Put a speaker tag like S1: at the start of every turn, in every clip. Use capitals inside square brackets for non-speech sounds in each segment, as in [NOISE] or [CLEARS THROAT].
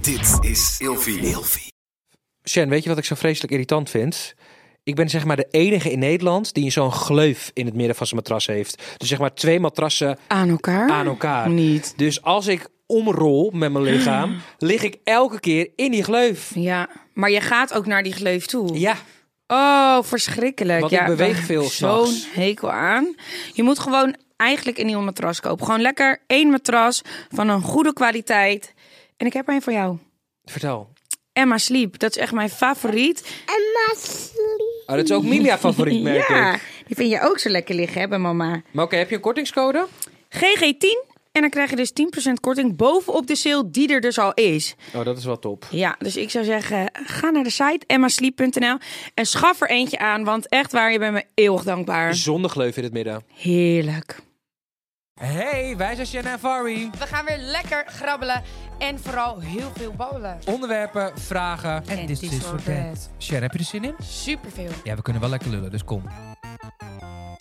S1: Dit is Ilvi.
S2: Shen, weet je wat ik zo vreselijk irritant vind? Ik ben zeg maar de enige in Nederland die zo'n gleuf in het midden van zijn matras heeft. Dus zeg maar twee matrassen
S3: Aan
S4: Ah,
S3: elkaar?
S2: aan elkaar.
S3: Niet.
S2: Dus als ik omrol met mijn lichaam, lig ik elke keer in die gleuf.
S3: Ja, maar je gaat ook naar die gleuf toe.
S2: Ja,
S3: Oh, verschrikkelijk.
S2: Want
S3: ja,
S2: ik beweeg
S3: daar heb
S2: veel
S3: ik
S2: s'nachts.
S3: Zo'n hekel aan. Je moet gewoon eigenlijk een nieuw matras kopen. Gewoon lekker één matras van een goede kwaliteit. En ik heb er een voor jou.
S2: vertel.
S3: Emma Sleep, dat is echt mijn favoriet.
S2: Ah, dat is ook Milia favoriet, merk
S3: ja,
S2: ik.
S3: die vind je ook zo lekker liggen, hè, bij mama.
S2: Maar oké, heb je een kortingscode?
S3: GG10. En dan krijg je dus 10% korting bovenop de sale die er dus al is.
S2: Oh, dat is wel top.
S3: Ja, dus ik zou zeggen, ga naar de site emmasleep.nl en schaf er eentje aan, want echt waar, je bent me eeuwig dankbaar.
S2: Zonder gleuf in het midden.
S3: Heerlijk.
S2: Hey, wij zijn Shen en Fari.
S4: We gaan weer lekker grabbelen en vooral heel veel babbelen.
S2: Onderwerpen, vragen.
S4: En dit is voor bed.
S2: dus Shen, heb je er zin in?
S4: Superveel.
S2: Ja, we kunnen wel lekker lullen, dus kom.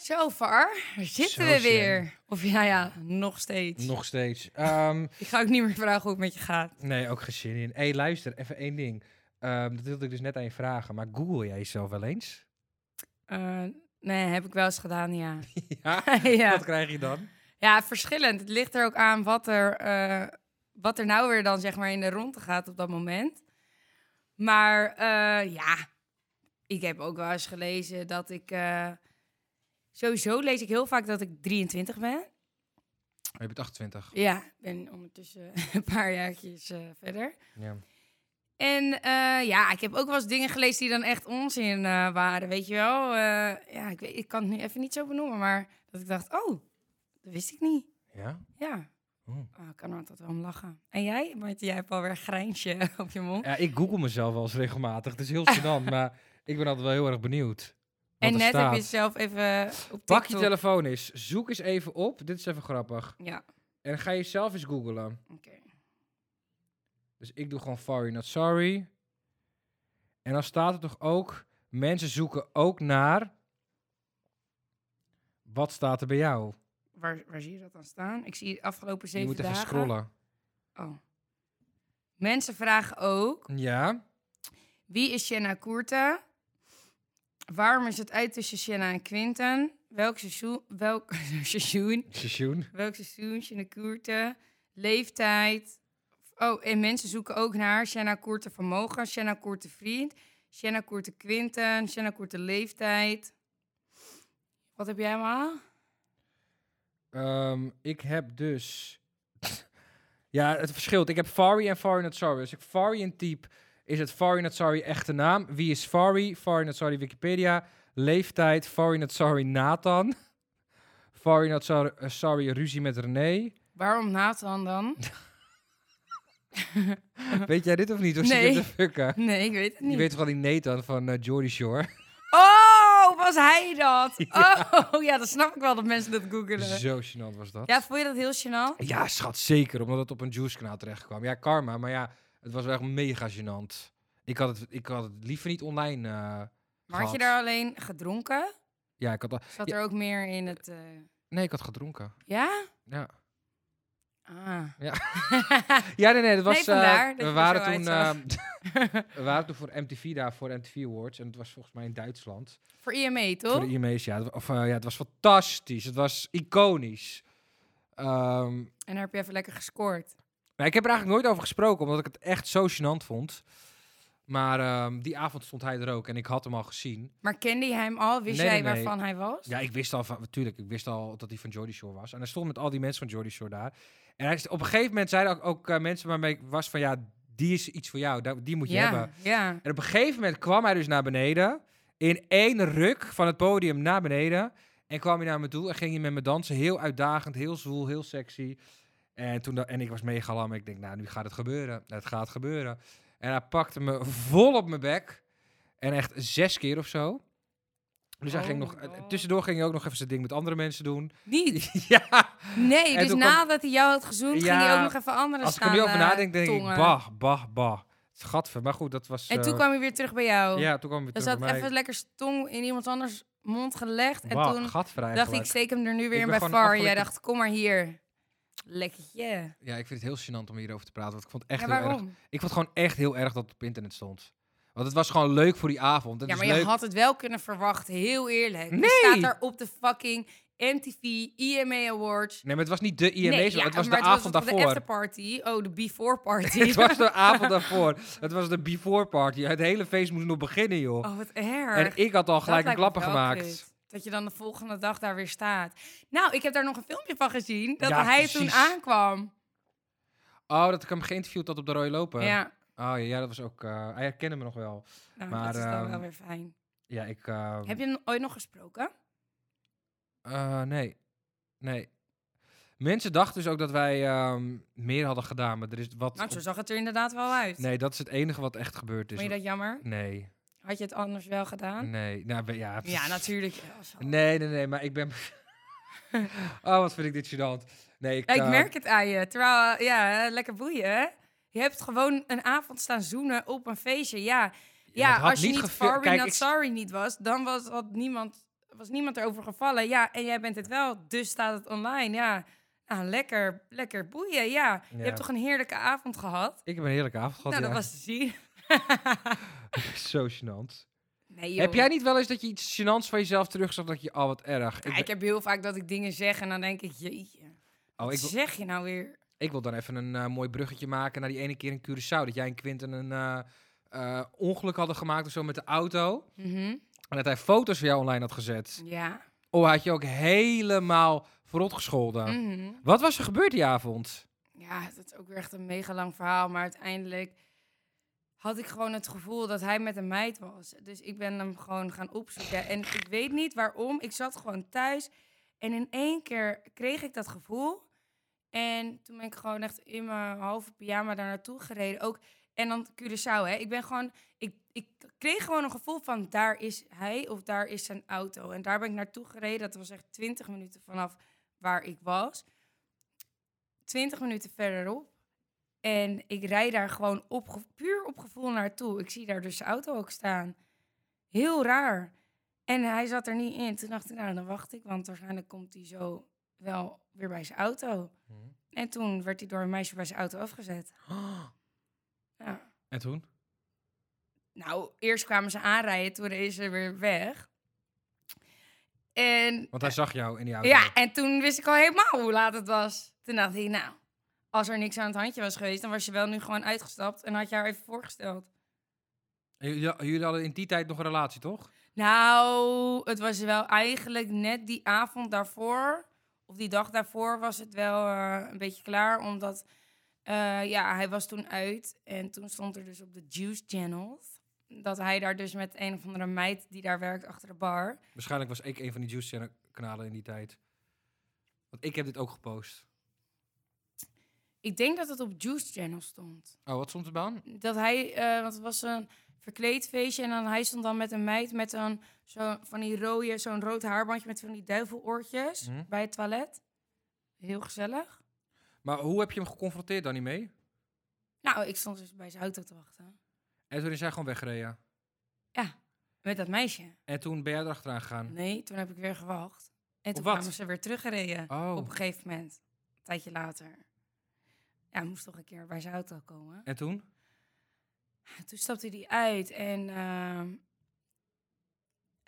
S4: Zo ver zitten
S2: Zo
S4: we weer. Of ja, ja, nog steeds.
S2: Nog steeds. Ehm,
S4: Ik ga ook niet meer vragen hoe het met je gaat.
S2: nee, ook geen zin in. hey, luister, even één ding. Ehm, dat wilde ik dus net aan je vragen, maar google jij jezelf wel eens?
S4: Eh, nee, heb ik wel eens gedaan, ja.
S2: ja?
S4: [LAUGHS] ja.
S2: [LAUGHS] Wat krijg je
S4: [LAUGHS]
S2: dan?
S4: ja, verschillend. Het ligt er ook aan wat er, eh, wat er nou weer dan zeg maar in de ronde gaat op dat moment. Maar eh, ja, ik heb ook wel eens gelezen dat ik... eh, sowieso lees ik heel vaak dat ik 23 ben.
S2: Oh, je bent 28.
S4: Ja, ik ben ondertussen [LAUGHS] een paar jaartjes eh, verder.
S2: Ja.
S4: En eh, ja, ik heb ook wel eens dingen gelezen die dan echt onzin eh, waren, weet je wel. Eh, ja, ik, weet, ik kan het nu even niet zo benoemen, maar dat ik dacht, oh, dat wist ik niet.
S2: Ja?
S4: Ja,
S2: Hmm.
S4: Ah, ik kan er altijd wel om lachen. En jij? Want jij hebt alweer een grijntje [LAUGHS] op je mond.
S2: ja? Ik google mezelf wel eens regelmatig. Het is heel
S4: [LAUGHS]
S2: gênant, maar ik ben altijd wel heel erg benieuwd. wat
S4: en
S2: er
S4: net heb
S2: staat.
S4: je zelf even eh, op
S2: Pak je
S4: TikTok-
S2: telefoon eens, zoek eens even op. Dit is even grappig.
S4: Ja,
S2: En ga jezelf eens googlen.
S4: oké.
S2: Dus ik doe gewoon sorry, not sorry. En dan staat er toch ook... Mensen zoeken ook naar... Wat staat er bij jou?
S4: Waar, waar zie je dat dan staan? Ik zie de afgelopen
S2: je
S4: zeven
S2: moet
S4: dagen...
S2: even scrollen.
S4: Oh. Mensen vragen ook...
S2: Ja?
S4: Wie is Shanna Koerta? Waarom is het uit tussen Shanna en Quinten? Welk seizoen? Welk [LAUGHS] seizoen?
S2: Seizoen.
S4: Welk seizoen? Shanna Koerta. Leeftijd. Oh, en mensen zoeken ook naar haar. Shanna Koerta vermogen, Shanna Koerta vriend, Shanna Koerta Quinten, Shanna Koerta leeftijd. Wat heb jij allemaal?
S2: Ehm, ik heb dus... [LAUGHS] ja, het verschilt. Ik heb Fari en Fari not sorry. Als ik Fari in type, is het Fari not sorry echte naam. Wie is Fari? Fari not sorry Wikipedia. Leeftijd, Fari not sorry Nathan. [LAUGHS] Fari not sorry, eh, sorry ruzie met René.
S4: Waarom Nathan dan?
S2: Weet jij dit of niet? Of
S4: Uh-huh. Nee.
S2: zit je te fucken?
S4: [LAUGHS] Nee, ik weet het
S2: Je
S4: niet.
S2: weet toch wel die Nathan van eh Jordy Shore?
S4: Oh, was hij
S2: [LAUGHS]
S4: dat? Oh, ja, dan snap ik wel dat mensen dat googelen.
S2: Zo gênant was dat.
S4: Ja, vond je dat heel gênant?
S2: Ja, schat, zeker. Omdat het op een juice-kanaal terechtkwam. Ja, karma. Maar ja, het was wel echt mega gênant. Ik had het, ik had het liever niet online eh
S4: Maar had je
S2: gehad.
S4: daar alleen gedronken?
S2: Ja, ik had al...
S4: Zat
S2: Ja.
S4: er ook meer in het... eh,
S2: Nee, ik had gedronken.
S4: Ja?
S2: Ja,
S4: Ah.
S2: Ja.
S4: [LAUGHS]
S2: ja nee, nee. Dat was,
S4: Nee, vandaar
S2: eh,
S4: dat je
S2: we,
S4: er
S2: waren
S4: zo
S2: toen,
S4: uitzag.
S2: eh, [LAUGHS] we waren toen voor MTV daar, voor MTV Awards. En het was volgens mij in Duitsland.
S4: Voor IME, toch?
S2: Voor de E IMA's, ja. Het wa- Of, eh, ja. Het was fantastisch. Het was iconisch. Ehm,
S4: En daar heb je even lekker gescoord.
S2: Nou, ik heb er eigenlijk nooit over gesproken, omdat ik het echt zo gênant vond. Maar ehm, die avond stond hij er ook en ik had hem al gezien.
S4: Maar kende jij hem al? Wist
S2: Nee,
S4: jij
S2: nee, nee.
S4: waarvan hij was?
S2: Ja, ik wist al van, natuurlijk, ik wist al dat hij van Jordy Shore was. En hij stond met al die mensen van Jordy Shore daar. En hij, op een gegeven moment zeiden ook, ook eh, mensen waarmee ik was van, ja, die is iets voor jou, daar- die moet je hebben.
S4: ja, ja.
S2: En op een gegeven moment kwam hij dus naar beneden. In één ruk van het podium naar beneden. En kwam hij naar me toe en ging hij met me dansen. Heel uitdagend, heel zwoel, heel sexy. En, toen da- en ik was mega lam. Ik denk, nou, nu gaat het gebeuren. Het gaat gebeuren. En hij pakte me vol op mijn bek. En echt zes keer of zo. Dus hij
S4: Oh
S2: ging
S4: my
S2: nog,
S4: God.
S2: tussendoor ging hij ook nog even zijn ding met andere mensen
S4: [LAUGHS]
S2: doen. [LAUGHS]
S4: Niet.
S2: ja,
S4: Nee,
S2: En
S4: dus
S2: toen kwam-
S4: nadat hij jou had gezoend, ging
S2: Ja,
S4: hij ook nog even andere
S2: als ik er
S4: staan
S2: nu over
S4: eh,
S2: nadenk, denk
S4: tongen.
S2: ik, bah, bah, bah. Gadver, maar goed, dat was...
S4: En toen
S2: eh,
S4: kwam hij weer terug bij jou.
S2: Ja, toen kwam hij
S4: Er
S2: terug
S4: zat
S2: bij mij.
S4: even lekker zijn tong in iemand anders mond gelegd. En
S2: Bah,
S4: toen
S2: gadver
S4: dacht ik,
S2: eigenlijk.
S4: steek hem er nu
S2: ben
S4: weer in bij
S2: gewoon een
S4: VAR. Jij
S2: afgeleide-
S4: dacht, kom maar hier. Lekkertje.
S2: Ja, ik vind het heel gênant om hierover te praten. Want ik vond het echt
S4: Ja,
S2: heel erg.
S4: waarom?
S2: Ik vond het gewoon echt heel erg dat het op internet stond. Want het was gewoon leuk voor die avond. Het
S4: Ja,
S2: is
S4: maar je
S2: leuk.
S4: had het wel kunnen verwachten, heel eerlijk.
S2: Nee!
S4: Je staat daar op de fucking MTV EMA E Awards.
S2: Nee, maar het was niet de IMA's,
S4: Nee, ja,
S2: het was
S4: maar
S2: de
S4: het
S2: avond
S4: was toch De
S2: daarvoor.
S4: afterparty. Oh, de before
S2: [LAUGHS]
S4: party.
S2: het was de avond daarvoor. Het was de before party. Het hele feest moest nog beginnen, joh.
S4: [LAUGHS] Oh, wat erg.
S2: en ik had al gelijk een
S4: Dat lijkt
S2: klappen
S4: me wel
S2: gemaakt.
S4: kut. Dat je dan de volgende dag daar weer staat. Nou, ik heb daar nog een filmpje van gezien. Dat
S2: Ja,
S4: hij toen
S2: precies.
S4: aankwam.
S2: Oh, dat ik hem geïnterviewd had op de rode lopen.
S4: Ja,
S2: Oh ja, ja, dat was ook. eh, hij herkende me nog wel.
S4: nou,
S2: Maar,
S4: dat is dan
S2: ehm,
S4: wel weer fijn.
S2: Ja, ik. eh,
S4: Heb je hem ooit nog gesproken?
S2: eh, nee. Nee. Mensen dachten dus ook dat wij ehm, meer hadden gedaan, maar er is wat.
S4: Nou, zo
S2: op-
S4: zag het er inderdaad wel uit.
S2: Nee, dat is het enige wat echt gebeurd is.
S4: Vond je dat jammer?
S2: Nee.
S4: Had je het anders wel gedaan?
S2: Nee. Nou, we- ja,
S4: Ja, natuurlijk. wel zo.
S2: Nee, nee, nee, maar ik ben. [LAUGHS] oh, wat vind ik dit gênant. Nee, ik,
S4: Ja, ik
S2: eh,
S4: merk het aan je. Terwijl, eh, ja, eh, lekker boeien. hè? Je hebt gewoon een avond staan zoenen op een feestje. Ja,
S2: maar
S4: ja
S2: het had
S4: als je niet
S2: gefil-
S4: Sorry
S2: Kijk,
S4: Not
S2: ik-
S4: Sorry niet was, dan was, had niemand, was niemand erover gevallen. Ja, en jij bent het wel, dus staat het online. Ja, nou, lekker, lekker boeien, ja. Je
S2: Ja.
S4: hebt toch een heerlijke avond gehad?
S2: Ik heb een heerlijke avond gehad.
S4: nou, dat
S2: ja.
S4: was te zien.
S2: [LAUGHS] zo gênant.
S4: nee, joh.
S2: Heb jij niet wel eens dat je iets gênants van jezelf terugzag dat je, oh, wat erg.
S4: Ja,
S2: ben-
S4: ik heb heel vaak dat ik dingen zeg en dan denk ik, jeetje,
S2: oh,
S4: wat
S2: ik, wil-
S4: zeg je nou weer?
S2: ik wil dan even een eh, mooi bruggetje maken naar die ene keer in Curaçao. Dat jij en Quinten een eh, eh, ongeluk hadden gemaakt of zo met de auto.
S4: Mhm,
S2: En dat hij foto's van jou online had gezet.
S4: Ja.
S2: Oh, hij had je ook helemaal verrot gescholden.
S4: mhm.
S2: Wat was er gebeurd die
S4: [GASPS]
S2: avond?
S4: Ja, dat is ook weer echt een mega lang verhaal. Maar uiteindelijk had ik gewoon het gevoel dat hij met een meid was. Dus ik ben hem gewoon gaan opzoeken. En ik weet niet waarom. Ik zat gewoon thuis. En in één keer kreeg ik dat gevoel. En toen ben ik gewoon echt in mijn halve pyjama daar naartoe gereden. Ook, en dan Curaçao, hè. Ik ben gewoon... Ik, ik kreeg gewoon een gevoel van daar is hij of daar is zijn auto. En daar ben ik naartoe gereden. Dat was echt 20 minuten vanaf waar ik was. 20 minuten verderop. En ik rijd daar gewoon op, ge- puur op gevoel naartoe. Ik zie daar dus zijn auto ook staan. Heel raar. En hij zat er niet in. Toen dacht ik, nou, dan wacht ik, want waarschijnlijk komt hij zo wel weer bij zijn auto.
S2: Mhm.
S4: En toen werd hij door een meisje bij zijn auto afgezet. Ja.
S2: En toen?
S4: Nou, eerst kwamen ze aanrijden, toen reed ze weer weg. En
S2: Want hij zag jou in die auto.
S4: Eh, Ja, en toen wist ik al helemaal hoe laat het was. Toen dacht ik, nou, als er niks aan het handje was geweest, dan was je wel nu gewoon uitgestapt en had je haar even voorgesteld.
S2: En Jullie, jullie hadden in die tijd nog een relatie, toch?
S4: Nou, het was wel eigenlijk net die avond daarvoor, of die dag daarvoor, was het wel eh, een beetje klaar. Omdat, eh, ja, hij was toen uit en toen stond er dus op de Juice Channels. Dat hij daar dus met een of andere meid die daar werkt achter de bar.
S2: Waarschijnlijk was ik een van die Juice-kanalen in die tijd. Want ik heb dit ook gepost.
S4: Ik denk dat het op Juice Channels stond.
S2: Oh, wat stond er dan?
S4: dat hij, eh want het was een verkleed feestje en dan hij stond dan met een meid met een zo van die rode, zo'n rood haarbandje met van die duiveloortjes
S2: Mhm.
S4: bij het toilet. Heel gezellig.
S2: Maar hoe heb je hem geconfronteerd dan niet mee?
S4: Nou, ik stond dus bij zijn auto te wachten
S2: En toen is hij gewoon weggereden.
S4: met dat meisje.
S2: En toen ben jij erachteraan gegaan.
S4: Nee, toen heb ik weer gewacht. En toen
S2: wat?
S4: kwamen ze weer teruggereden
S2: Oh,
S4: op een gegeven moment, een tijdje later. Ja, hij moest toch een keer bij zijn auto komen.
S2: en toen?
S4: Toen stapte hij uit en ehm,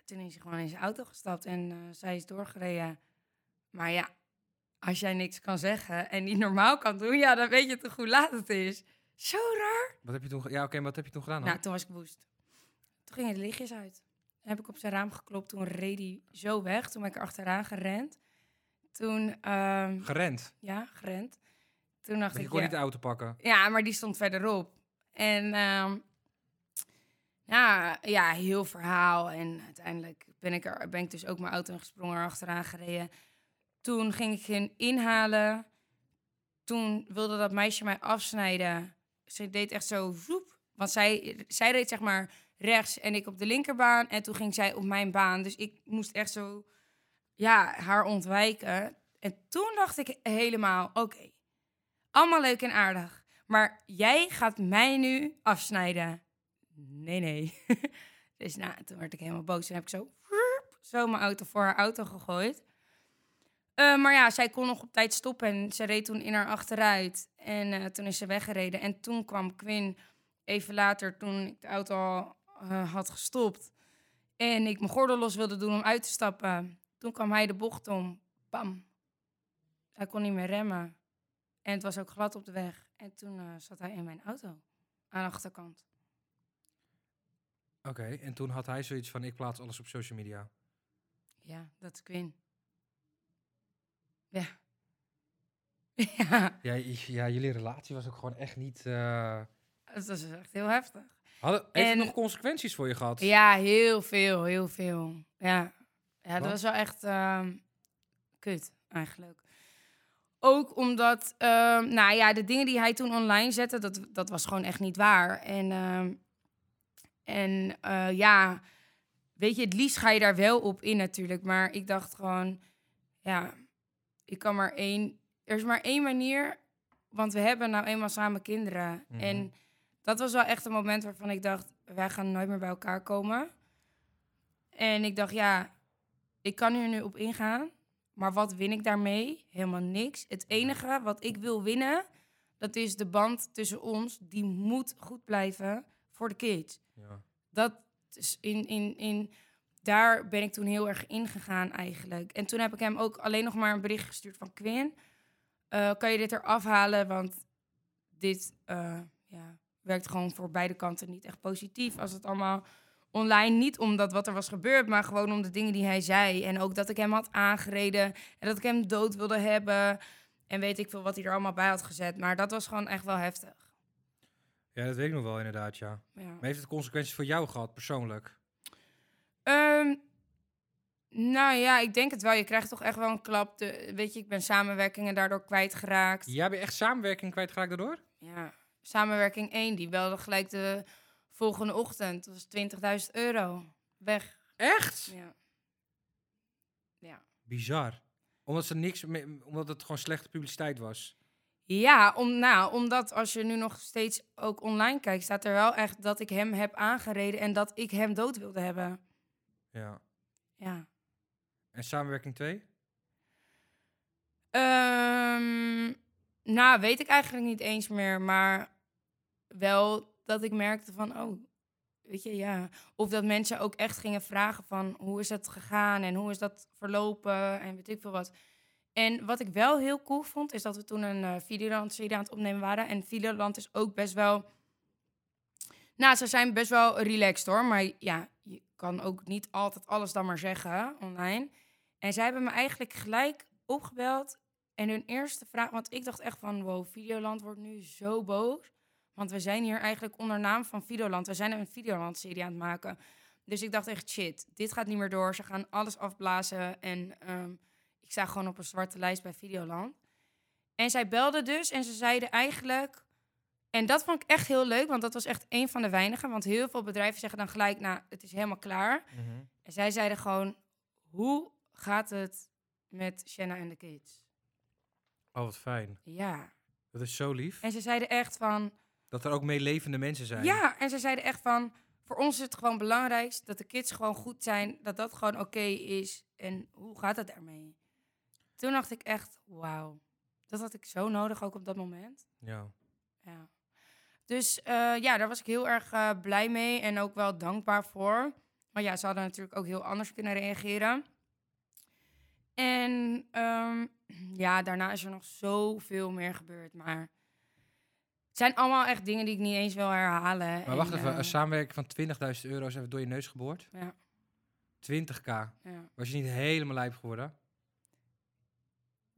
S4: toen is hij gewoon in zijn auto gestapt en eh, zij is doorgereden. Maar ja, als jij niks kan zeggen en niet normaal kan doen, ja, dan weet je toch hoe laat het is. Zo raar.
S2: Wat heb je toen ge- Ja, oké, maar wat heb je toen gedaan dan?
S4: Nou, toen was ik woest. Toen gingen de lichtjes uit. Toen heb ik op zijn raam geklopt, toen reed hij zo weg. Toen ben ik er achteraan gerend. Toen, ehm,
S2: Gerend.
S4: ja, gerend. Toen dacht
S2: Want je
S4: ik,
S2: kon
S4: ja.
S2: niet de auto pakken.
S4: Ja, maar die stond verderop. En ehm, ja, ja, heel verhaal. En uiteindelijk ben ik, er, ben ik dus ook mijn auto ingesprongen, achteraan gereden. Toen ging ik hem inhalen. Toen wilde dat meisje mij afsnijden. Ze deed echt zo zoep. Want zij, zij reed zeg maar rechts en ik op de linkerbaan. En toen ging zij op mijn baan. Dus ik moest echt zo ja, haar ontwijken. En toen dacht ik helemaal, oké, allemaal leuk en aardig. Maar jij gaat mij nu afsnijden. Nee, nee. [LAUGHS] dus nou, toen werd ik helemaal boos. Toen heb ik zo, woep, zo mijn auto voor haar auto gegooid. Eh, maar ja, zij kon nog op tijd stoppen en ze reed toen in haar achteruit. En eh, toen is ze weggereden. En toen kwam Quinn even later, toen ik de auto al eh, had gestopt. En ik mijn gordel los wilde doen om uit te stappen. Toen kwam hij de bocht om. Bam. Hij kon niet meer remmen. En het was ook glad op de weg. En toen eh, zat hij in mijn auto. Aan de achterkant.
S2: Oké, en toen had hij zoiets van, ik plaats alles op social media.
S4: Ja, dat is Quinn. Ja. [LAUGHS] Ja,
S2: Ja, j- ja jullie relatie was ook gewoon echt niet... eh,
S4: dat was dus echt heel heftig.
S2: Hadden, heeft
S4: En-
S2: het nog consequenties voor je gehad?
S4: Ja, heel veel, heel veel. Ja, ja dat
S2: Wat?
S4: was wel echt ehm, kut eigenlijk. Ook omdat, ehm, nou ja, de dingen die hij toen online zette, dat, dat was gewoon echt niet waar. En, ehm, en eh, ja, weet je, het liefst ga je daar wel op in natuurlijk. Maar ik dacht gewoon, ja, ik kan maar één, er is maar één manier. Want we hebben nou eenmaal samen kinderen.
S2: Mhm.
S4: En dat was wel echt een moment waarvan ik dacht, wij gaan nooit meer bij elkaar komen. En ik dacht, ja, ik kan hier nu op ingaan. Maar wat win ik daarmee? Helemaal niks. Het enige wat ik wil winnen, dat is de band tussen ons. Die moet goed blijven voor de kids.
S2: Ja.
S4: Dat is in, in, in, daar ben ik toen heel erg ingegaan eigenlijk. En toen heb ik hem ook alleen nog maar een bericht gestuurd van Quinn. eh, kan je dit eraf halen? Want dit eh, ja, werkt gewoon voor beide kanten niet echt positief. Als het allemaal online, niet omdat wat er was gebeurd, maar gewoon om de dingen die hij zei. En ook dat ik hem had aangereden en dat ik hem dood wilde hebben. En weet ik veel wat hij er allemaal bij had gezet. Maar dat was gewoon echt wel heftig.
S2: ja, dat weet ik nog wel inderdaad, ja.
S4: Ja.
S2: Maar heeft het consequenties voor jou gehad, persoonlijk?
S4: Ehm, nou ja, ik denk het wel. Je krijgt toch echt wel een klap. De, weet je, ik ben samenwerkingen daardoor kwijtgeraakt.
S2: Jij bent echt samenwerking kwijtgeraakt daardoor?
S4: Ja. Samenwerking 1, die belde gelijk de volgende ochtend. Dat was 20.000 euro. Weg.
S2: Echt?
S4: Ja. Ja.
S2: Bizar. Omdat, ze niks me- omdat het gewoon slechte publiciteit was.
S4: Ja, om, nou, omdat als je nu nog steeds ook online kijkt, staat er wel echt dat ik hem heb aangereden en dat ik hem dood wilde hebben.
S2: Ja.
S4: Ja.
S2: En samenwerking 2?
S4: Ehm, nou, weet ik eigenlijk niet eens meer, maar wel dat ik merkte van, oh, weet je, ja. Of dat mensen ook echt gingen vragen van, hoe is dat gegaan en hoe is dat verlopen en weet ik veel wat. En wat ik wel heel cool vond, is dat we toen een eh Videoland-serie aan het opnemen waren. En Videoland is ook best wel... Nou, ze zijn best wel relaxed hoor, maar ja, je kan ook niet altijd alles dan maar zeggen online. En zij hebben me eigenlijk gelijk opgebeld. En hun eerste vraag, want ik dacht echt van, wow, Videoland wordt nu zo boos. Want we zijn hier eigenlijk onder naam van Videoland. We zijn een Videoland-serie aan het maken. Dus ik dacht echt, shit, dit gaat niet meer door. Ze gaan alles afblazen. En ehm, ik sta gewoon op een zwarte lijst bij Videoland. En zij belden dus en ze zeiden eigenlijk... En dat vond ik echt heel leuk, want dat was echt een van de weinigen. Want heel veel bedrijven zeggen dan gelijk, nou, het is helemaal klaar. En zij zeiden gewoon, hoe gaat het met Shanna en de kids?
S2: Oh, wat fijn.
S4: Ja.
S2: Dat is zo lief.
S4: En ze zeiden echt van,
S2: Dat er ook meelevende mensen zijn.
S4: ja. En ze zeiden echt van, voor ons is het gewoon belangrijk dat de kids gewoon goed zijn. Dat dat gewoon oké is. En hoe gaat het daarmee? Toen dacht ik echt, wauw. Dat had ik zo nodig ook op dat moment.
S2: Ja.
S4: Ja. Dus eh, ja, daar was ik heel erg eh, blij mee en ook wel dankbaar voor. Maar ja, ze hadden natuurlijk ook heel anders kunnen reageren. En ehm, ja, daarna is er nog zoveel meer gebeurd. Maar het zijn allemaal echt dingen die ik niet eens wil herhalen.
S2: Maar wacht
S4: En,
S2: even,
S4: eh,
S2: een samenwerking van 20.000 euro is even door je neus geboord?
S4: Ja.
S2: 20k.
S4: ja.
S2: Was je niet helemaal lijp geworden?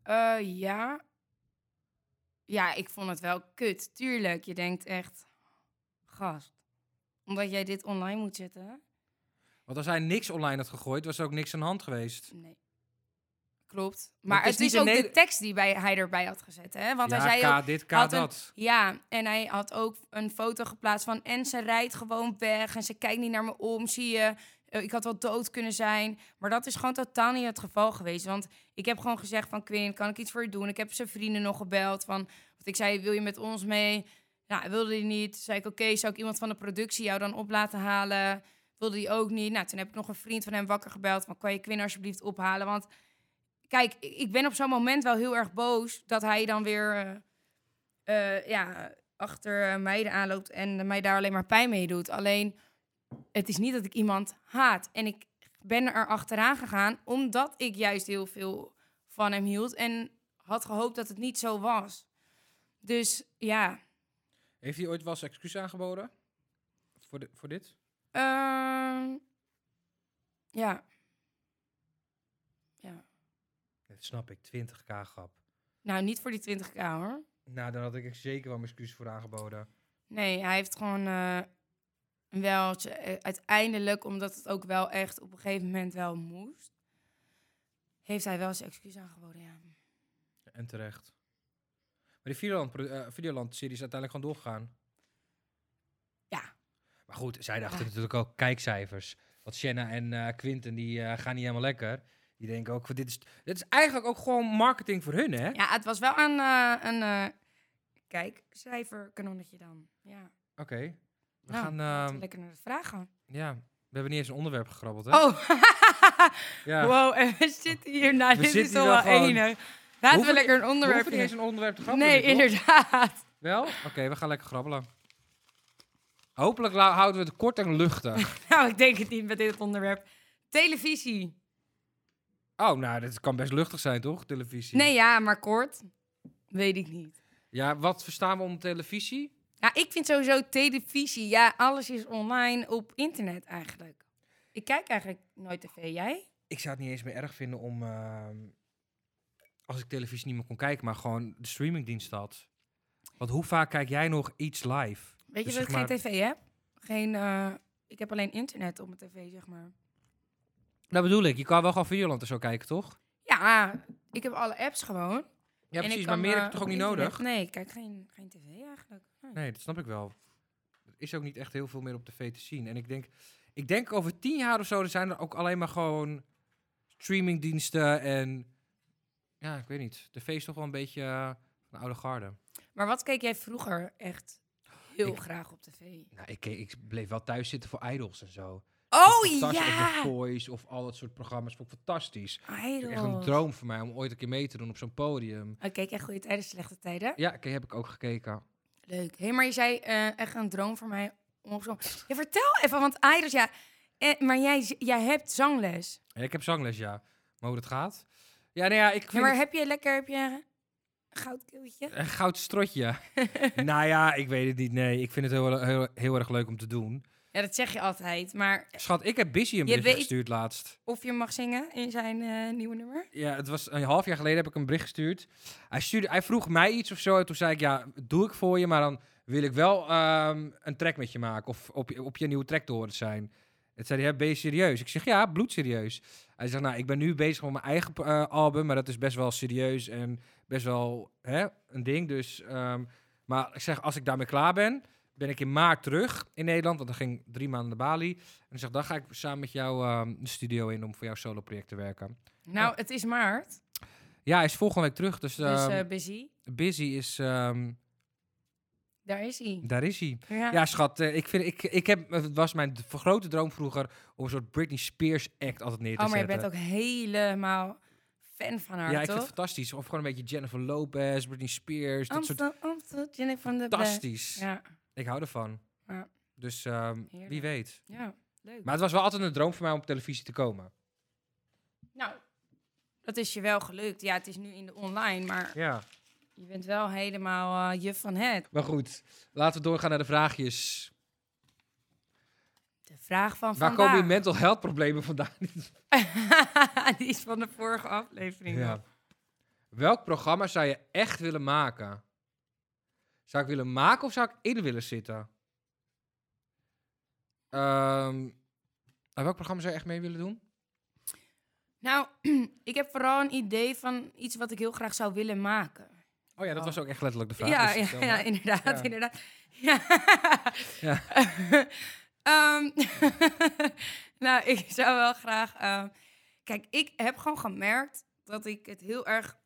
S4: Eh, ja. Ja, ik vond het wel kut. Tuurlijk, je denkt echt, gast. Omdat jij dit online moet zetten.
S2: Want als hij niks online had gegooid, was er ook niks aan de hand geweest.
S4: Nee. Klopt. Maar
S2: het is
S4: het is,
S2: niet
S4: ook
S2: een
S4: de
S2: neder-
S4: tekst die bij, hij erbij had gezet, hè? Want
S2: ja,
S4: hij zei
S2: K
S4: ook...
S2: dit, K
S4: had
S2: dat.
S4: een- Ja, en hij had ook een foto geplaatst van... en ze rijdt gewoon weg en ze kijkt niet naar me om, zie je. Eh, Ik had wel dood kunnen zijn. Maar dat is gewoon totaal niet het geval geweest. Want ik heb gewoon gezegd van... Quinn, kan ik iets voor je doen? Ik heb zijn vrienden nog gebeld van... Want ik zei, wil je met ons mee? Nou, wilde hij niet. Toen zei ik, oké, zou ik iemand van de productie jou dan op laten halen? Wilde hij ook niet. Nou, toen heb ik nog een vriend van hem wakker gebeld. Van, kan je Quinn alsjeblieft ophalen? Want Kijk, ik- ik ben op zo'n moment wel heel erg boos dat hij dan weer eh, eh, ja, achter eh, meiden aanloopt en mij daar alleen maar pijn mee doet. Alleen, het is niet dat ik iemand haat. En ik ben er achteraan gegaan omdat ik juist heel veel van hem hield en had gehoopt dat het niet zo was. Dus ja,
S2: Heeft hij ooit wel eens excuus aangeboden? Voor, de, voor dit?
S4: Ehm, ja. ja.
S2: Dat snap ik, 20k grap.
S4: Nou, niet voor die 20k hoor.
S2: Nou, daar had ik echt zeker wel mijn excuus voor aangeboden.
S4: Nee, hij heeft gewoon eh, wel tje- eh, uiteindelijk, omdat het ook wel echt op een gegeven moment wel moest, heeft hij wel zijn excuus aangeboden. Ja.
S2: En terecht. Maar die Videoland, pro- eh, Videoland-serie is uiteindelijk gewoon doorgegaan.
S4: Ja.
S2: Maar goed, zij dachten
S4: Ja.
S2: natuurlijk ook kijkcijfers. Want Shanna en eh, Quinten, die eh, gaan niet helemaal lekker. Die denken ook, dit is, dit is eigenlijk ook gewoon marketing voor hun, hè? Oké,
S4: ja, het was wel een, eh een eh kijk, cijferkanonnetje dan. Ja.
S2: we
S4: Nou,
S2: gaan...
S4: laten we
S2: ehm,
S4: lekker naar de vragen.
S2: ja, we hebben niet eens een onderwerp gegrabbeld, hè?
S4: Oh, [LAUGHS]
S2: ja.
S4: wow, en we zitten hier. Nou,
S2: We
S4: dit is
S2: zitten
S4: toch
S2: hier
S4: wel
S2: wel gewoon-
S4: enig. Laten we
S2: hoeven
S4: lekker een
S2: We
S4: onderwerp
S2: hoeven niet eens een onderwerp te grabbelen.
S4: Nee,
S2: toch?
S4: inderdaad. [LAUGHS]
S2: Wel? Oké, we gaan lekker grabbelen. Hopelijk la- houden we het kort en [LAUGHS] luchtig.
S4: Nou, ik denk het niet met dit onderwerp. Televisie.
S2: oh, nou, dit kan best luchtig zijn, toch? Televisie.
S4: Nee, ja, maar kort. Weet ik niet.
S2: Ja, wat verstaan we onder televisie?
S4: Ja, ik vind sowieso televisie. Ja, alles is online op internet eigenlijk. Ik kijk eigenlijk nooit tv. Jij?
S2: Ik zou het niet eens meer erg vinden om... ehm, als ik televisie niet meer kon kijken, maar gewoon de streamingdienst had. Want hoe vaak kijk jij nog iets live?
S4: Weet je
S2: Dus
S4: dat ik
S2: zeg
S4: geen tv heb? Geen, eh, ik heb alleen internet op mijn tv, zeg maar.
S2: Dat bedoel ik. Je kan wel gewoon Videoland en zo kijken, toch?
S4: Ja, ik heb alle apps gewoon.
S2: Ja,
S4: En ik
S2: precies.
S4: kan,
S2: Maar meer
S4: eh,
S2: heb je toch ook
S4: op
S2: niet
S4: internet-
S2: nodig?
S4: Nee, ik kijk geen, geen tv eigenlijk. Nee.
S2: Nee, dat snap ik wel. Er is ook niet echt heel veel meer op tv te zien. En ik denk, ik denk over tien jaar of zo er zijn er ook alleen maar gewoon streamingdiensten en ja, ik weet niet. TV is toch wel een beetje eh, van de oude garde.
S4: Maar wat keek jij vroeger echt heel
S2: Ik-
S4: graag op tv?
S2: Nou, ik, ik bleef wel thuis zitten voor idols en zo.
S4: Oh
S2: Fantastisch. Of The
S4: ja!
S2: Voice of al dat soort programma's. Vond ik fantastisch. Het is echt een
S4: Idols.
S2: droom voor mij om ooit een keer mee te doen op zo'n podium.
S4: Oké, kijk, echt goede tijden, slechte tijden.
S2: Ja, oké, heb ik ook gekeken.
S4: Leuk. Hé, maar je zei eh, echt een droom voor mij. om op zo'n- Ja, vertel even, want Iris, ja... eh, maar jij, z- jij hebt zangles.
S2: En ik heb zangles, ja. Maar hoe dat gaat? Ja, nou ja, ik vind
S4: Ja, maar
S2: het-
S4: heb je lekker, heb je een goudkeeltje?
S2: Een goud strotje. nou ja, ik weet het niet. Nee, ik vind het heel, heel, heel erg leuk om te doen.
S4: Ja, dat zeg je altijd. Maar
S2: Schat, ik heb Busy een bericht
S4: weet-
S2: gestuurd laatst.
S4: of je mag zingen in zijn eh, nieuwe nummer.
S2: Ja, het was een half jaar geleden heb ik een bericht gestuurd. Hij, stuurde, hij vroeg mij iets of zo. En toen zei ik, ja, doe ik voor je. Maar dan wil ik wel ehm, een track met je maken. Of op, je- op je nieuwe track te horen zijn. Het zei hij, ja, ben je serieus? Ik zeg, ja, bloedserieus. Hij zegt, nou, ik ben nu bezig met mijn eigen eh, album. Maar dat is best wel serieus en best wel hè, een ding. Dus, ehm, maar ik zeg, als ik daarmee klaar ben, ben ik in maart terug in Nederland. Want dan ging ik drie maanden naar Bali. En ik zeg, dan ga ik samen met jou ehm, de studio in om voor jouw solo-project te werken.
S4: Nou, het is maart,
S2: Ja, hij is volgende week terug. Dus,
S4: dus
S2: ehm,
S4: eh, busy.
S2: Busy is... ehm,
S4: Daar is hij.
S2: daar is hij.
S4: Ja.
S2: Ja, schat. eh, ik vind, ik, ik heb, het was mijn d- grote droom vroeger om een soort Britney Spears act altijd neer te
S4: oh, maar je
S2: zetten.
S4: bent ook helemaal fan van haar,
S2: Ja, ik vind
S4: toch?
S2: het fantastisch. Of gewoon een beetje Jennifer Lopez, Britney Spears. Dat soort
S4: Amstel, Amstel, Jennifer van de Black.
S2: fantastisch.
S4: Ja,
S2: Ik hou ervan.
S4: Ja.
S2: Dus ehm, wie
S4: Heerlijk.
S2: weet.
S4: ja, leuk.
S2: Maar het was wel altijd een droom voor mij om op televisie te komen.
S4: Nou, dat is je wel gelukt. Ja, het is nu in de online, maar
S2: Ja.
S4: je bent wel helemaal eh, juf van het.
S2: Maar goed, laten we doorgaan naar de vraagjes.
S4: De vraag van
S2: Waar
S4: vandaag.
S2: komen je mental health problemen vandaan?
S4: [LAUGHS] Die is van de vorige aflevering.
S2: Ja. Welk programma zou je echt willen maken? Zou ik willen maken of zou ik in willen zitten? Ehm, aan welk programma zou je echt mee willen doen?
S4: Nou, [CLEARS THROAT] ik heb vooral een idee van iets wat ik heel graag zou willen maken.
S2: Oh ja, dat was ook echt letterlijk de vraag.
S4: Ja,
S2: dus
S4: ja,
S2: vertel
S4: ja,
S2: maar.
S4: inderdaad,
S2: Ja.
S4: inderdaad. Ja.
S2: Ja.
S4: [LAUGHS] Ehm, [LAUGHS] nou, ik zou wel graag... ehm, kijk, ik heb gewoon gemerkt dat ik het heel erg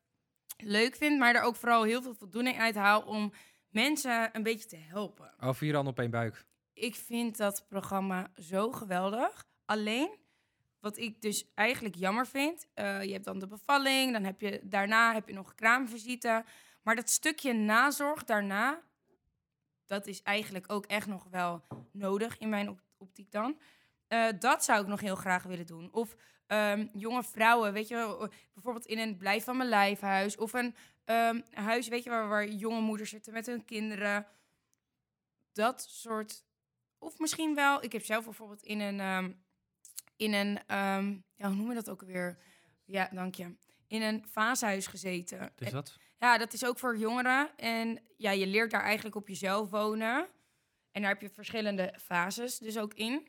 S4: leuk vind... maar er ook vooral heel veel voldoening uit haal om mensen een beetje te helpen.
S2: Oh, vier handen op één buik.
S4: Ik vind dat programma zo geweldig. Alleen, Wat ik dus eigenlijk jammer vind. eh, je hebt dan de bevalling, dan heb je daarna heb je nog kraamvisite. Maar dat stukje nazorg daarna, dat is eigenlijk ook echt nog wel nodig in mijn op- optiek dan. Eh, dat zou ik nog heel graag willen doen. Of ehm, jonge vrouwen, weet je, wel, eh, bijvoorbeeld in een blijf van mijn lijfhuis. Of een ehm, huis, weet je, waar, waar jonge moeders zitten met hun kinderen. Dat soort. Of misschien wel, ik heb zelf bijvoorbeeld in een. ehm, in een ehm, ja, hoe noem je dat ook weer? Ja, dank je. In een vaashuis gezeten.
S2: Is dat?
S4: Ja, dat is ook voor jongeren. En ja, je leert daar eigenlijk op jezelf wonen. En daar heb je verschillende fases dus ook in.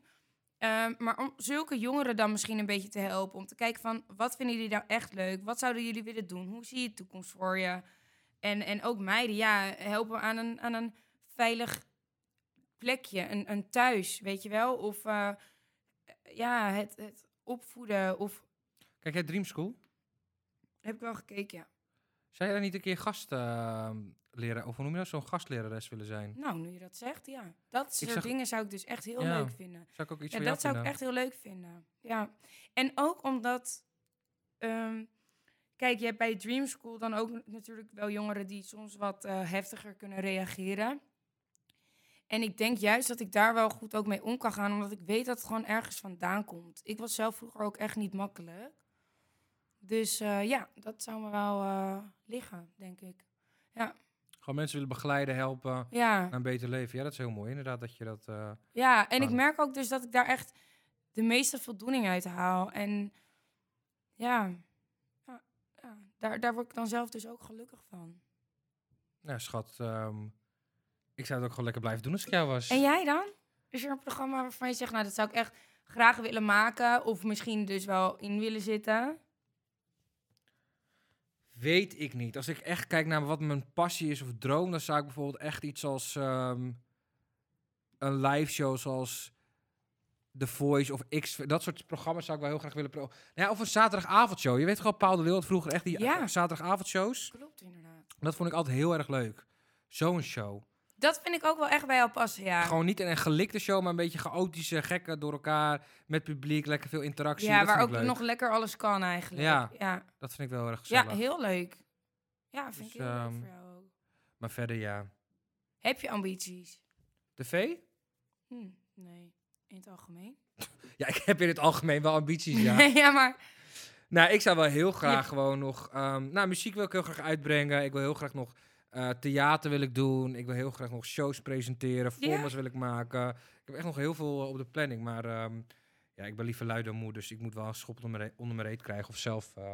S4: Ehm, maar om zulke jongeren dan misschien een beetje te helpen. Om te kijken van, wat vinden jullie nou echt leuk? Wat zouden jullie willen doen? Hoe zie je de toekomst voor je? En, en ook meiden, ja, helpen aan een, aan een veilig plekje. Een, een thuis, weet je wel? Of eh, ja, het, het opvoeden. Of
S2: Kijk, jij Dream School.
S4: heb ik wel gekeken, ja.
S2: Zou jij daar niet een keer gastleraar, of hoe noem je dat, zo'n gastlerares willen zijn?
S4: Nou, nu je dat zegt, ja. Dat soort
S2: zag-
S4: dingen zou ik dus echt heel
S2: Ja.
S4: leuk vinden.
S2: Zou ik ook iets
S4: Ja,
S2: voor
S4: dat
S2: jou
S4: zou ik
S2: vinden?
S4: echt heel leuk vinden. Ja. En ook omdat... ehm, kijk, je hebt bij Dream School dan ook natuurlijk wel jongeren... die soms wat eh, heftiger kunnen reageren. En ik denk juist dat ik daar wel goed ook mee om kan gaan... omdat ik weet dat het gewoon ergens vandaan komt. Ik was zelf vroeger ook echt niet makkelijk. Dus eh, ja, dat zou me wel eh, liggen, denk ik.
S2: Gewoon mensen willen begeleiden, helpen
S4: Ja.
S2: naar een beter leven. Ja, dat is heel mooi inderdaad dat je dat... eh,
S4: Ja, en ik
S2: Kan.
S4: merk ook dus dat ik daar echt de meeste voldoening uit haal. En ja, ja, ja, daar, daar word ik dan zelf dus ook gelukkig van.
S2: nou schat, ehm, ik zou het ook gewoon lekker blijven doen als ik jou was.
S4: En jij dan? Is er een programma waarvan je zegt, nou, dat zou ik echt graag willen maken of misschien dus wel in willen zitten?
S2: Weet ik niet. Als ik echt kijk naar wat mijn passie is of droom, dan zou ik bijvoorbeeld echt iets als ehm, een live show zoals The Voice of X. Dat soort programma's zou ik wel heel graag willen. pro- Nou ja, of een zaterdagavondshow. Je weet gewoon, Paul de Leeuw had vroeger echt die
S4: Ja.
S2: eh, zaterdagavondshows.
S4: Klopt inderdaad.
S2: Dat vond ik altijd heel erg leuk. Zo'n show.
S4: Dat vind ik ook wel echt bij jou passen, ja.
S2: Gewoon niet een, een gelikte show, maar een beetje chaotische, gekken door elkaar. Met publiek, lekker veel interactie.
S4: ja,
S2: dat
S4: waar
S2: vind
S4: ook
S2: ik leuk.
S4: nog lekker alles kan eigenlijk.
S2: Ja.
S4: ja.
S2: Dat vind ik wel erg
S4: Ja,
S2: gezellig.
S4: heel leuk. Ja, vind
S2: Dus,
S4: ik heel leuk
S2: ehm,
S4: voor jou ook.
S2: Maar verder ja.
S4: Heb je ambities?
S2: TV?
S4: Hm, nee, in het algemeen.
S2: Ja, ik heb in het algemeen wel ambities, ja.
S4: [LAUGHS] ja, maar
S2: Nou, ik zou wel heel graag gewoon nog... ehm, nou, muziek wil ik heel graag uitbrengen. Ik wil heel graag nog eh, theater wil ik doen. Ik wil heel graag nog shows presenteren.
S4: Ja.
S2: Formats wil ik maken. Ik heb echt nog heel veel eh, op de planning. Maar ehm, ja, ik ben liever lui dan moe. Dus ik moet wel een schop onder mijn re- onder mijn reet krijgen. Of zelf... ehm,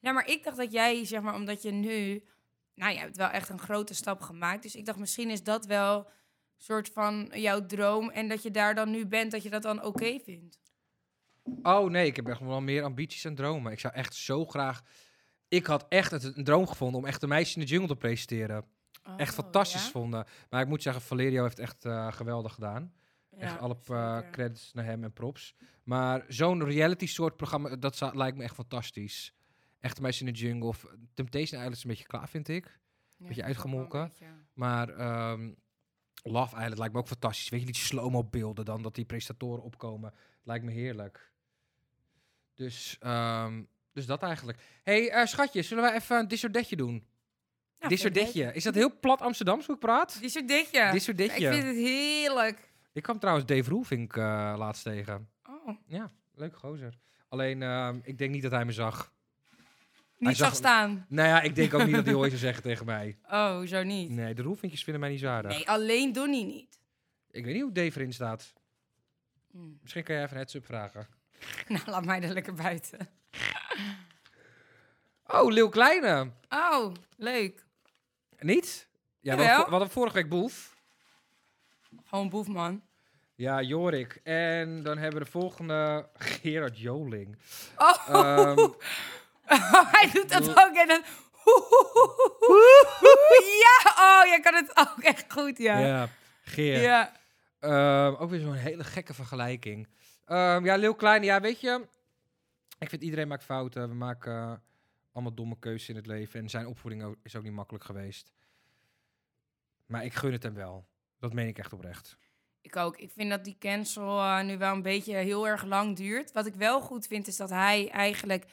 S4: Nou, maar ik dacht dat jij, zeg maar, omdat je nu... Nou, je hebt wel echt een grote stap gemaakt. Dus ik dacht, misschien is dat wel een soort van jouw droom. En dat je daar dan nu bent, dat je dat dan oké vindt.
S2: Oh nee, ik heb echt nog wel meer ambities en dromen. Ik zou echt zo graag... Ik had echt het, een droom gevonden om echt een meisje in de jungle te presenteren. echt
S4: Oh,
S2: fantastisch vonden. Maar ik moet zeggen, Valerio heeft echt eh, geweldig gedaan. Echt alle eh, credits naar hem en props. Maar zo'n reality soort programma, dat zou- lijkt me echt fantastisch. Echt een meisje in de jungle. Of eh, Temptation Island is een beetje klaar, vind ik. beetje uitgemolken. Maar ehm, Love Island lijkt me ook fantastisch. Weet je, die slow-mo beelden dan, dat die presentatoren opkomen. Lijkt me heerlijk. Dus, ehm, dus dat eigenlijk. hey, eh, schatje, zullen wij even een disordetje doen? disordetje. Is dat heel plat Amsterdams hoe ik praat?
S4: Disordetje.
S2: Disordetje.
S4: Ik vind het heerlijk.
S2: Ik kwam trouwens Dave Roelvink eh, laatst tegen.
S4: Oh,
S2: Leuk gozer. Alleen, ehm, ik denk niet dat hij me zag. zag
S4: niet zag
S2: hem.
S4: staan.
S2: Nou ja, ik denk ook niet dat hij ooit zou zeggen tegen mij.
S4: Oh, zo niet.
S2: Nee, de roelvinkjes vinden mij niet zadig.
S4: Nee, alleen Donnie niet. [LAUGHS]
S2: Ik weet niet hoe Dave erin staat.
S4: Hm.
S2: Misschien kan jij even een heads-up vragen.
S4: Nou, laat mij er lekker buiten.
S2: Oh, Leeuw Kleine.
S4: Oh, leuk.
S2: Niet? Ja, we
S4: Jawel.
S2: hadden, we hadden vorige week Boef.
S4: Gewoon boefman.
S2: Ja, Jorik. En dan hebben we de volgende Gerard Joling.
S4: Oh,
S2: Ehm,
S4: [LAUGHS] hij doet dat ook. En dan... [LAUGHS] Ja, oh, jij kan het ook echt goed, ja. Ja,
S2: ja, Geer.
S4: ja.
S2: Ehm, ook weer zo'n hele gekke vergelijking. Ehm, ja, Leeuw Kleine, ja, weet je... Ik vind iedereen maakt fouten. We maken eh, allemaal domme keuzes in het leven. En zijn opvoeding ook- is ook niet makkelijk geweest. Maar ik gun het hem wel. Dat meen ik echt oprecht.
S4: Ik ook. Ik vind dat die cancel eh, nu wel een beetje heel erg lang duurt. Wat ik wel goed vind, is dat hij eigenlijk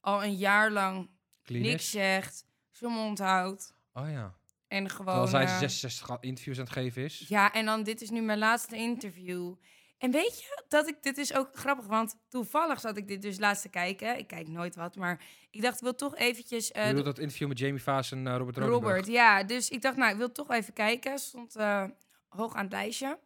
S4: al een jaar lang
S2: Klinisch.
S4: niks zegt, zijn mond houdt
S2: Oh ja.
S4: en gewoon...
S2: Terwijl zij
S4: eh,
S2: 66 al interviews aan het geven is.
S4: Ja, en dan dit is nu mijn laatste interview. En weet je, dat ik, dit is ook grappig, want toevallig zat ik dit dus laatst te kijken. Ik kijk nooit wat, maar ik dacht, ik wil toch eventjes... eh,
S2: Je
S4: de-
S2: bedoelt dat interview met Jamie Vaas en eh, Robert Rodenburg.
S4: Robert, ja. Dus ik dacht, nou, ik wil toch even kijken. Stond eh, hoog aan het lijstje.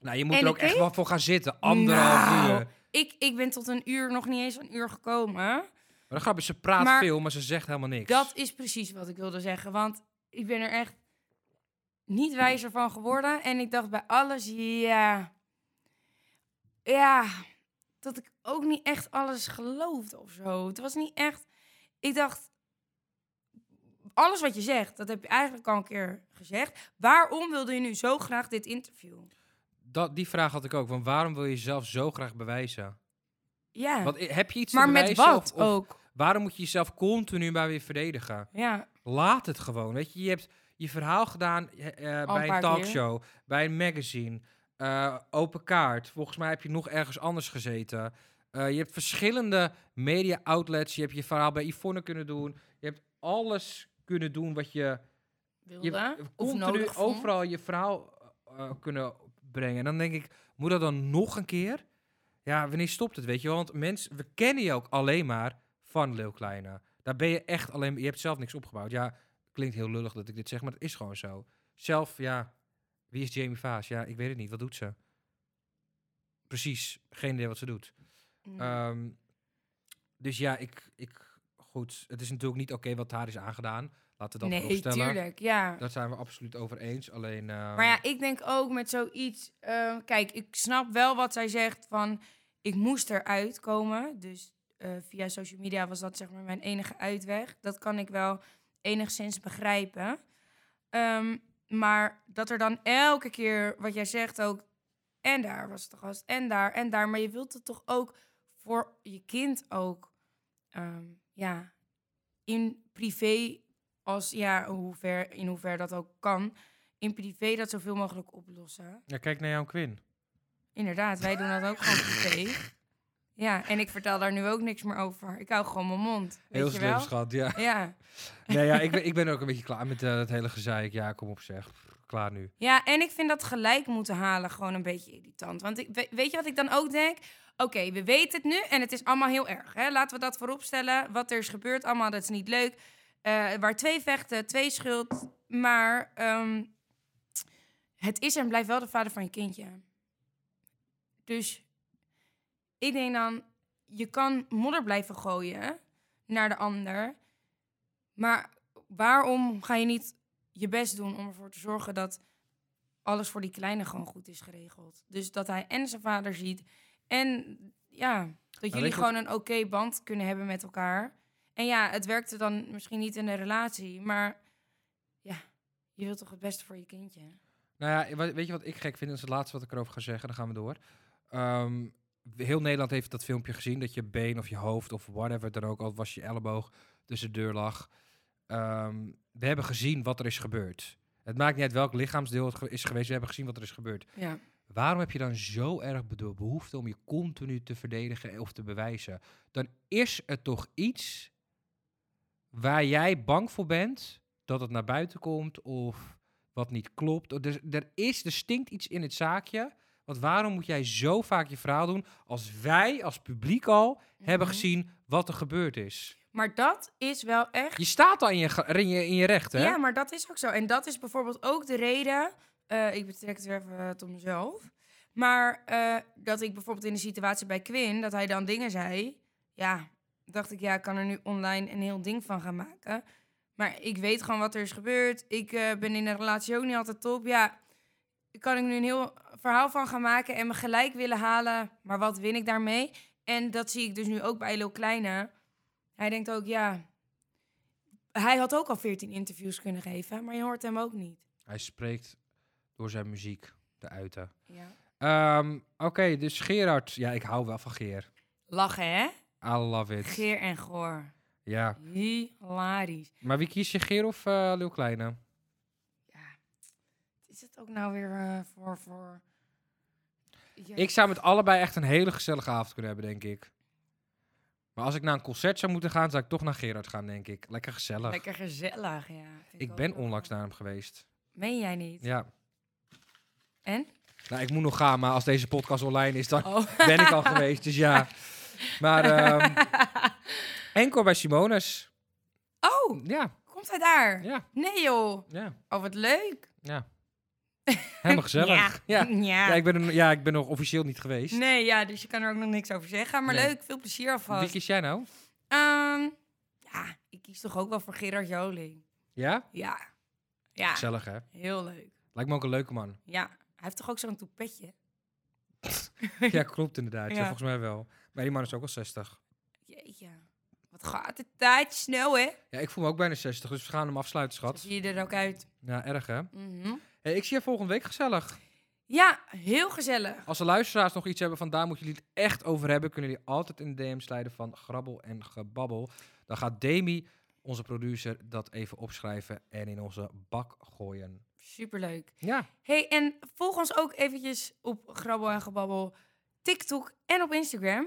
S2: Nou, je moet
S4: En
S2: er ook
S4: ik
S2: echt
S4: keek-
S2: wel voor gaan zitten. Anderhalf
S4: Nou,
S2: uur.
S4: Ik, ik ben tot een uur, nog niet eens een uur gekomen.
S2: Maar de grap is, ze praat
S4: Maar-
S2: veel, maar ze zegt helemaal niks.
S4: Dat is precies wat ik wilde zeggen. Want ik ben er echt niet wijzer van geworden. En ik dacht bij alles, ja. Ja. Dat ik ook niet echt alles geloofde of zo. Het was niet echt. Ik dacht. Alles wat je zegt, dat heb je eigenlijk al een keer gezegd. Waarom wilde je nu zo graag dit interview?
S2: Dat, die vraag had ik ook. Want waarom wil je jezelf zo graag bewijzen?
S4: Ja.
S2: Want eh, heb je iets
S4: maar
S2: te
S4: met
S2: bewijzen? of-
S4: wat
S2: of
S4: ook?
S2: Waarom moet je jezelf continu maar weer verdedigen?
S4: Ja.
S2: Laat het gewoon. Weet je, je hebt je verhaal gedaan eh, eh,
S4: Al een
S2: bij een
S4: paar
S2: talkshow, bij een magazine, eh, open kaart. Volgens mij heb je nog ergens anders gezeten. Eh, je hebt verschillende media outlets. Je hebt je verhaal bij Yvonne kunnen doen. Je hebt alles kunnen doen wat je. Je
S4: Wilde.
S2: hebt
S4: Of
S2: continu
S4: nodig vond.
S2: overal je verhaal eh, kunnen brengen. En dan denk ik, moet dat dan nog een keer? Ja, wanneer stopt het, weet je wel? Want mensen, we kennen je ook alleen maar van Leeuw Kleine. Daar ben je echt alleen... Je hebt zelf niks opgebouwd. Ja, klinkt heel lullig dat ik dit zeg, maar het is gewoon zo. Zelf, ja... Wie is Jamie Vaas? Ja, ik weet het niet. Wat doet ze? Precies, geen idee wat ze doet. Ehm, dus ja, ik, ik... Goed, het is natuurlijk niet oké wat haar is aangedaan. Laten we dat
S4: nee,
S2: voorstellen.
S4: tuurlijk. Ja.
S2: Daar zijn we absoluut over eens. Alleen. eh,
S4: Maar ja, ik denk ook met zoiets. eh, kijk, ik snap wel wat zij zegt van ik moest eruit komen. Dus eh, via social media was dat zeg maar mijn enige uitweg. Dat kan ik wel enigszins begrijpen. Ehm, maar dat er dan elke keer wat jij zegt ook. En daar was de gast. En daar en daar. Maar je wilt het toch ook voor je kind ook. ehm, ja, in privé. Als ja, hoe ver, in hoever dat ook kan in privé dat zoveel mogelijk oplossen.
S2: ja, kijk naar jouw Quinn.
S4: Inderdaad, wij doen dat ook
S2: [LAUGHS]
S4: gewoon privé. Ja, en ik vertel daar nu ook niks meer over. Ik hou gewoon mijn mond. Weet
S2: Heel
S4: je
S2: slim,
S4: wel?
S2: schat.
S4: [LAUGHS]
S2: Ja.
S4: Ja.
S2: nee, ja, ik ben, ik ben er ook een beetje klaar met eh, dat hele gezeik. Ja, kom op, zeg. Pff, Klaar nu.
S4: ja, en ik vind dat gelijk moeten halen gewoon een beetje irritant. Want ik, we- weet je wat ik dan ook denk? Oké, we weten het nu en het is allemaal heel erg. Hè? Laten we dat vooropstellen. Wat er is gebeurd allemaal, dat is niet leuk. Eh, waar twee vechten, twee schuld. Maar ehm, het is en blijft wel de vader van je kindje. Dus ik denk dan, je kan modder blijven gooien naar de ander. Maar waarom ga je niet je best doen om ervoor te zorgen dat alles voor die kleine gewoon goed is geregeld? Dus dat hij en zijn vader ziet en ja, dat
S2: Nou, weet
S4: jullie
S2: je
S4: gewoon een oké band kunnen hebben met elkaar. En ja, het werkte dan misschien niet in de relatie, maar ja, je wilt toch het beste voor je kindje?
S2: Nou ja, wa- weet je wat ik gek vind? Dat is het laatste wat ik erover ga zeggen. Dan gaan we door. Ehm, heel Nederland heeft dat filmpje gezien. Dat je been of je hoofd of whatever het dan ook, al was je elleboog, tussen de deur lag. Ehm, we hebben gezien wat er is gebeurd. Het maakt niet uit welk lichaamsdeel het ge- is geweest. We hebben gezien wat er is gebeurd.
S4: Ja.
S2: Waarom heb je dan zo erg bedo- behoefte om je continu te verdedigen of te bewijzen? Dan is er toch iets waar jij bang voor bent dat het naar buiten komt of wat niet klopt. Of Er, er is, er stinkt iets in het zaakje. Want waarom moet jij zo vaak je verhaal doen als wij als publiek al hebben
S4: Mhm.
S2: gezien wat er gebeurd is?
S4: Maar dat is wel echt.
S2: Je staat al in je, ge- in je, in je recht, hè?
S4: Ja, maar dat is ook zo. En dat is bijvoorbeeld ook de reden. eh, ik betrek het weer even tot mezelf. Maar eh, dat ik bijvoorbeeld in de situatie bij Quinn, dat hij dan dingen zei. Ja, dacht ik, ja, ik kan er nu online een heel ding van gaan maken. Maar ik weet gewoon wat er is gebeurd. Ik eh, ben in een relatie ook niet altijd top. Ja, kan ik nu een heel verhaal van gaan maken en me gelijk willen halen. Maar wat win ik daarmee? En dat zie ik dus nu ook bij Lil Kleine. Hij denkt ook, ja, hij had ook al 14 interviews kunnen geven, maar je hoort hem ook niet.
S2: Hij spreekt door zijn muziek te uiten.
S4: Ja.
S2: Ehm, Oké, dus Gerard. Ja, ik hou wel van Geer.
S4: Lachen, hè?
S2: I love it.
S4: Geer en goor.
S2: Ja.
S4: Hilarisch.
S2: Maar wie kies je, Geer of eh Leeuw Kleine?
S4: Ja. Het is het ook nou weer eh, voor... voor... Ja.
S2: Ik zou met allebei echt een hele gezellige avond kunnen hebben, denk ik. Maar als ik naar een concert zou moeten gaan, zou ik toch naar Gerard gaan, denk ik. Lekker gezellig.
S4: Lekker gezellig, ja. Vind
S2: Ik
S4: ook
S2: ben
S4: wel.
S2: onlangs naar hem geweest.
S4: Meen jij niet?
S2: Ja.
S4: En?
S2: Nou, ik moet nog gaan, maar als deze podcast online is, dan
S4: Oh. [LAUGHS]
S2: ben ik al geweest. Dus ja. Maar ehm, enkel bij Simones.
S4: oh,
S2: Ja,
S4: komt hij daar?
S2: ja,
S4: Nee joh.
S2: ja,
S4: Oh, wat leuk.
S2: ja. Helemaal gezellig. Ja. Ja.
S4: [LAUGHS] ja.
S2: ik ben er, ja, ik ben nog officieel niet geweest.
S4: Nee, ja, dus je kan er ook nog niks over zeggen. Maar
S2: Nee.
S4: leuk, veel plezier
S2: Wie
S4: alvast.
S2: kies jij nou?
S4: Ehm, ja, ik kies toch ook wel voor Gerard Joling.
S2: Ja?
S4: Ja. Ja,
S2: Gezellig, hè?
S4: heel leuk.
S2: Lijkt me ook een leuke man.
S4: Ja, hij heeft toch ook zo'n toepetje?
S2: [LAUGHS] Ja, klopt inderdaad. Ja.
S4: Ja.
S2: volgens mij wel. Maar die man is ook al 60.
S4: Jeetje. Wat gaat de tijd snel, hè?
S2: Ja, ik voel me ook bijna 60, dus we gaan hem afsluiten,
S4: Zo
S2: schat.
S4: zie je er ook uit.
S2: Ja, erg, hè?
S4: Mhm.
S2: Hey, ik zie je volgende week gezellig.
S4: Ja, heel gezellig.
S2: Als de luisteraars nog iets hebben van daar moeten jullie het echt over hebben, kunnen jullie altijd in de DM slijden van grabbel en gebabbel. Dan gaat Demi, onze producer, dat even opschrijven en in onze bak gooien.
S4: Superleuk.
S2: Ja,
S4: hey, en volg ons ook eventjes op Grabbel en Gebabbel, TikTok en op Instagram.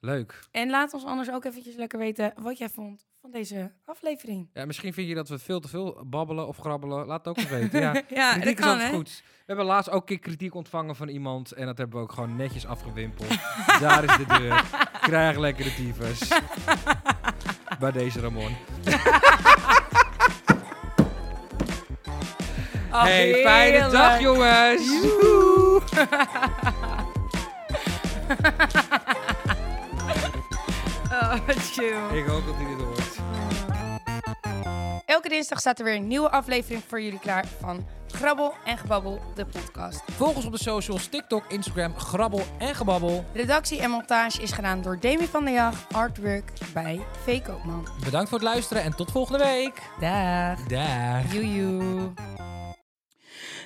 S2: leuk.
S4: En laat ons anders ook eventjes lekker weten wat jij vond van deze aflevering.
S2: Ja, misschien vind je dat we veel te veel babbelen of grabbelen. Laat het ook eens
S4: [LAUGHS]
S2: weten. [LAUGHS] Ja, kritiek
S4: dat
S2: is
S4: kan,
S2: altijd
S4: hè?
S2: goed. We hebben laatst ook een keer kritiek ontvangen van iemand en dat hebben we ook gewoon netjes afgewimpeld. [LAUGHS] Daar is de deur. Krijg lekkere [LAUGHS] tyfus. Bij deze Ramon.
S4: Ach,
S2: hey, fijne dag
S4: Oh, heerlijk.
S2: jongens.
S4: Oh, chill.
S2: Ik hoop dat hij dit hoort.
S4: Elke dinsdag staat er weer een nieuwe aflevering voor jullie klaar van Grabbel en Gebabbel, de podcast.
S2: Volg ons op de socials, TikTok, Instagram, Grabbel en Gebabbel.
S4: Redactie en montage is gedaan door Demi van der Jag, artwork bij V. Koopman.
S2: Bedankt voor het luisteren en tot volgende week.
S4: Dag.
S2: Daag.
S4: Joejoe.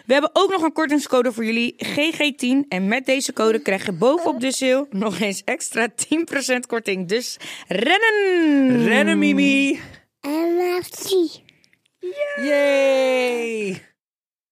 S3: We hebben ook nog een kortingscode voor jullie, GG10. En met deze code krijg je bovenop de sale nog eens extra 10% korting. Dus rennen!
S2: Rennen Mimi.
S1: I love tea.
S2: Yay.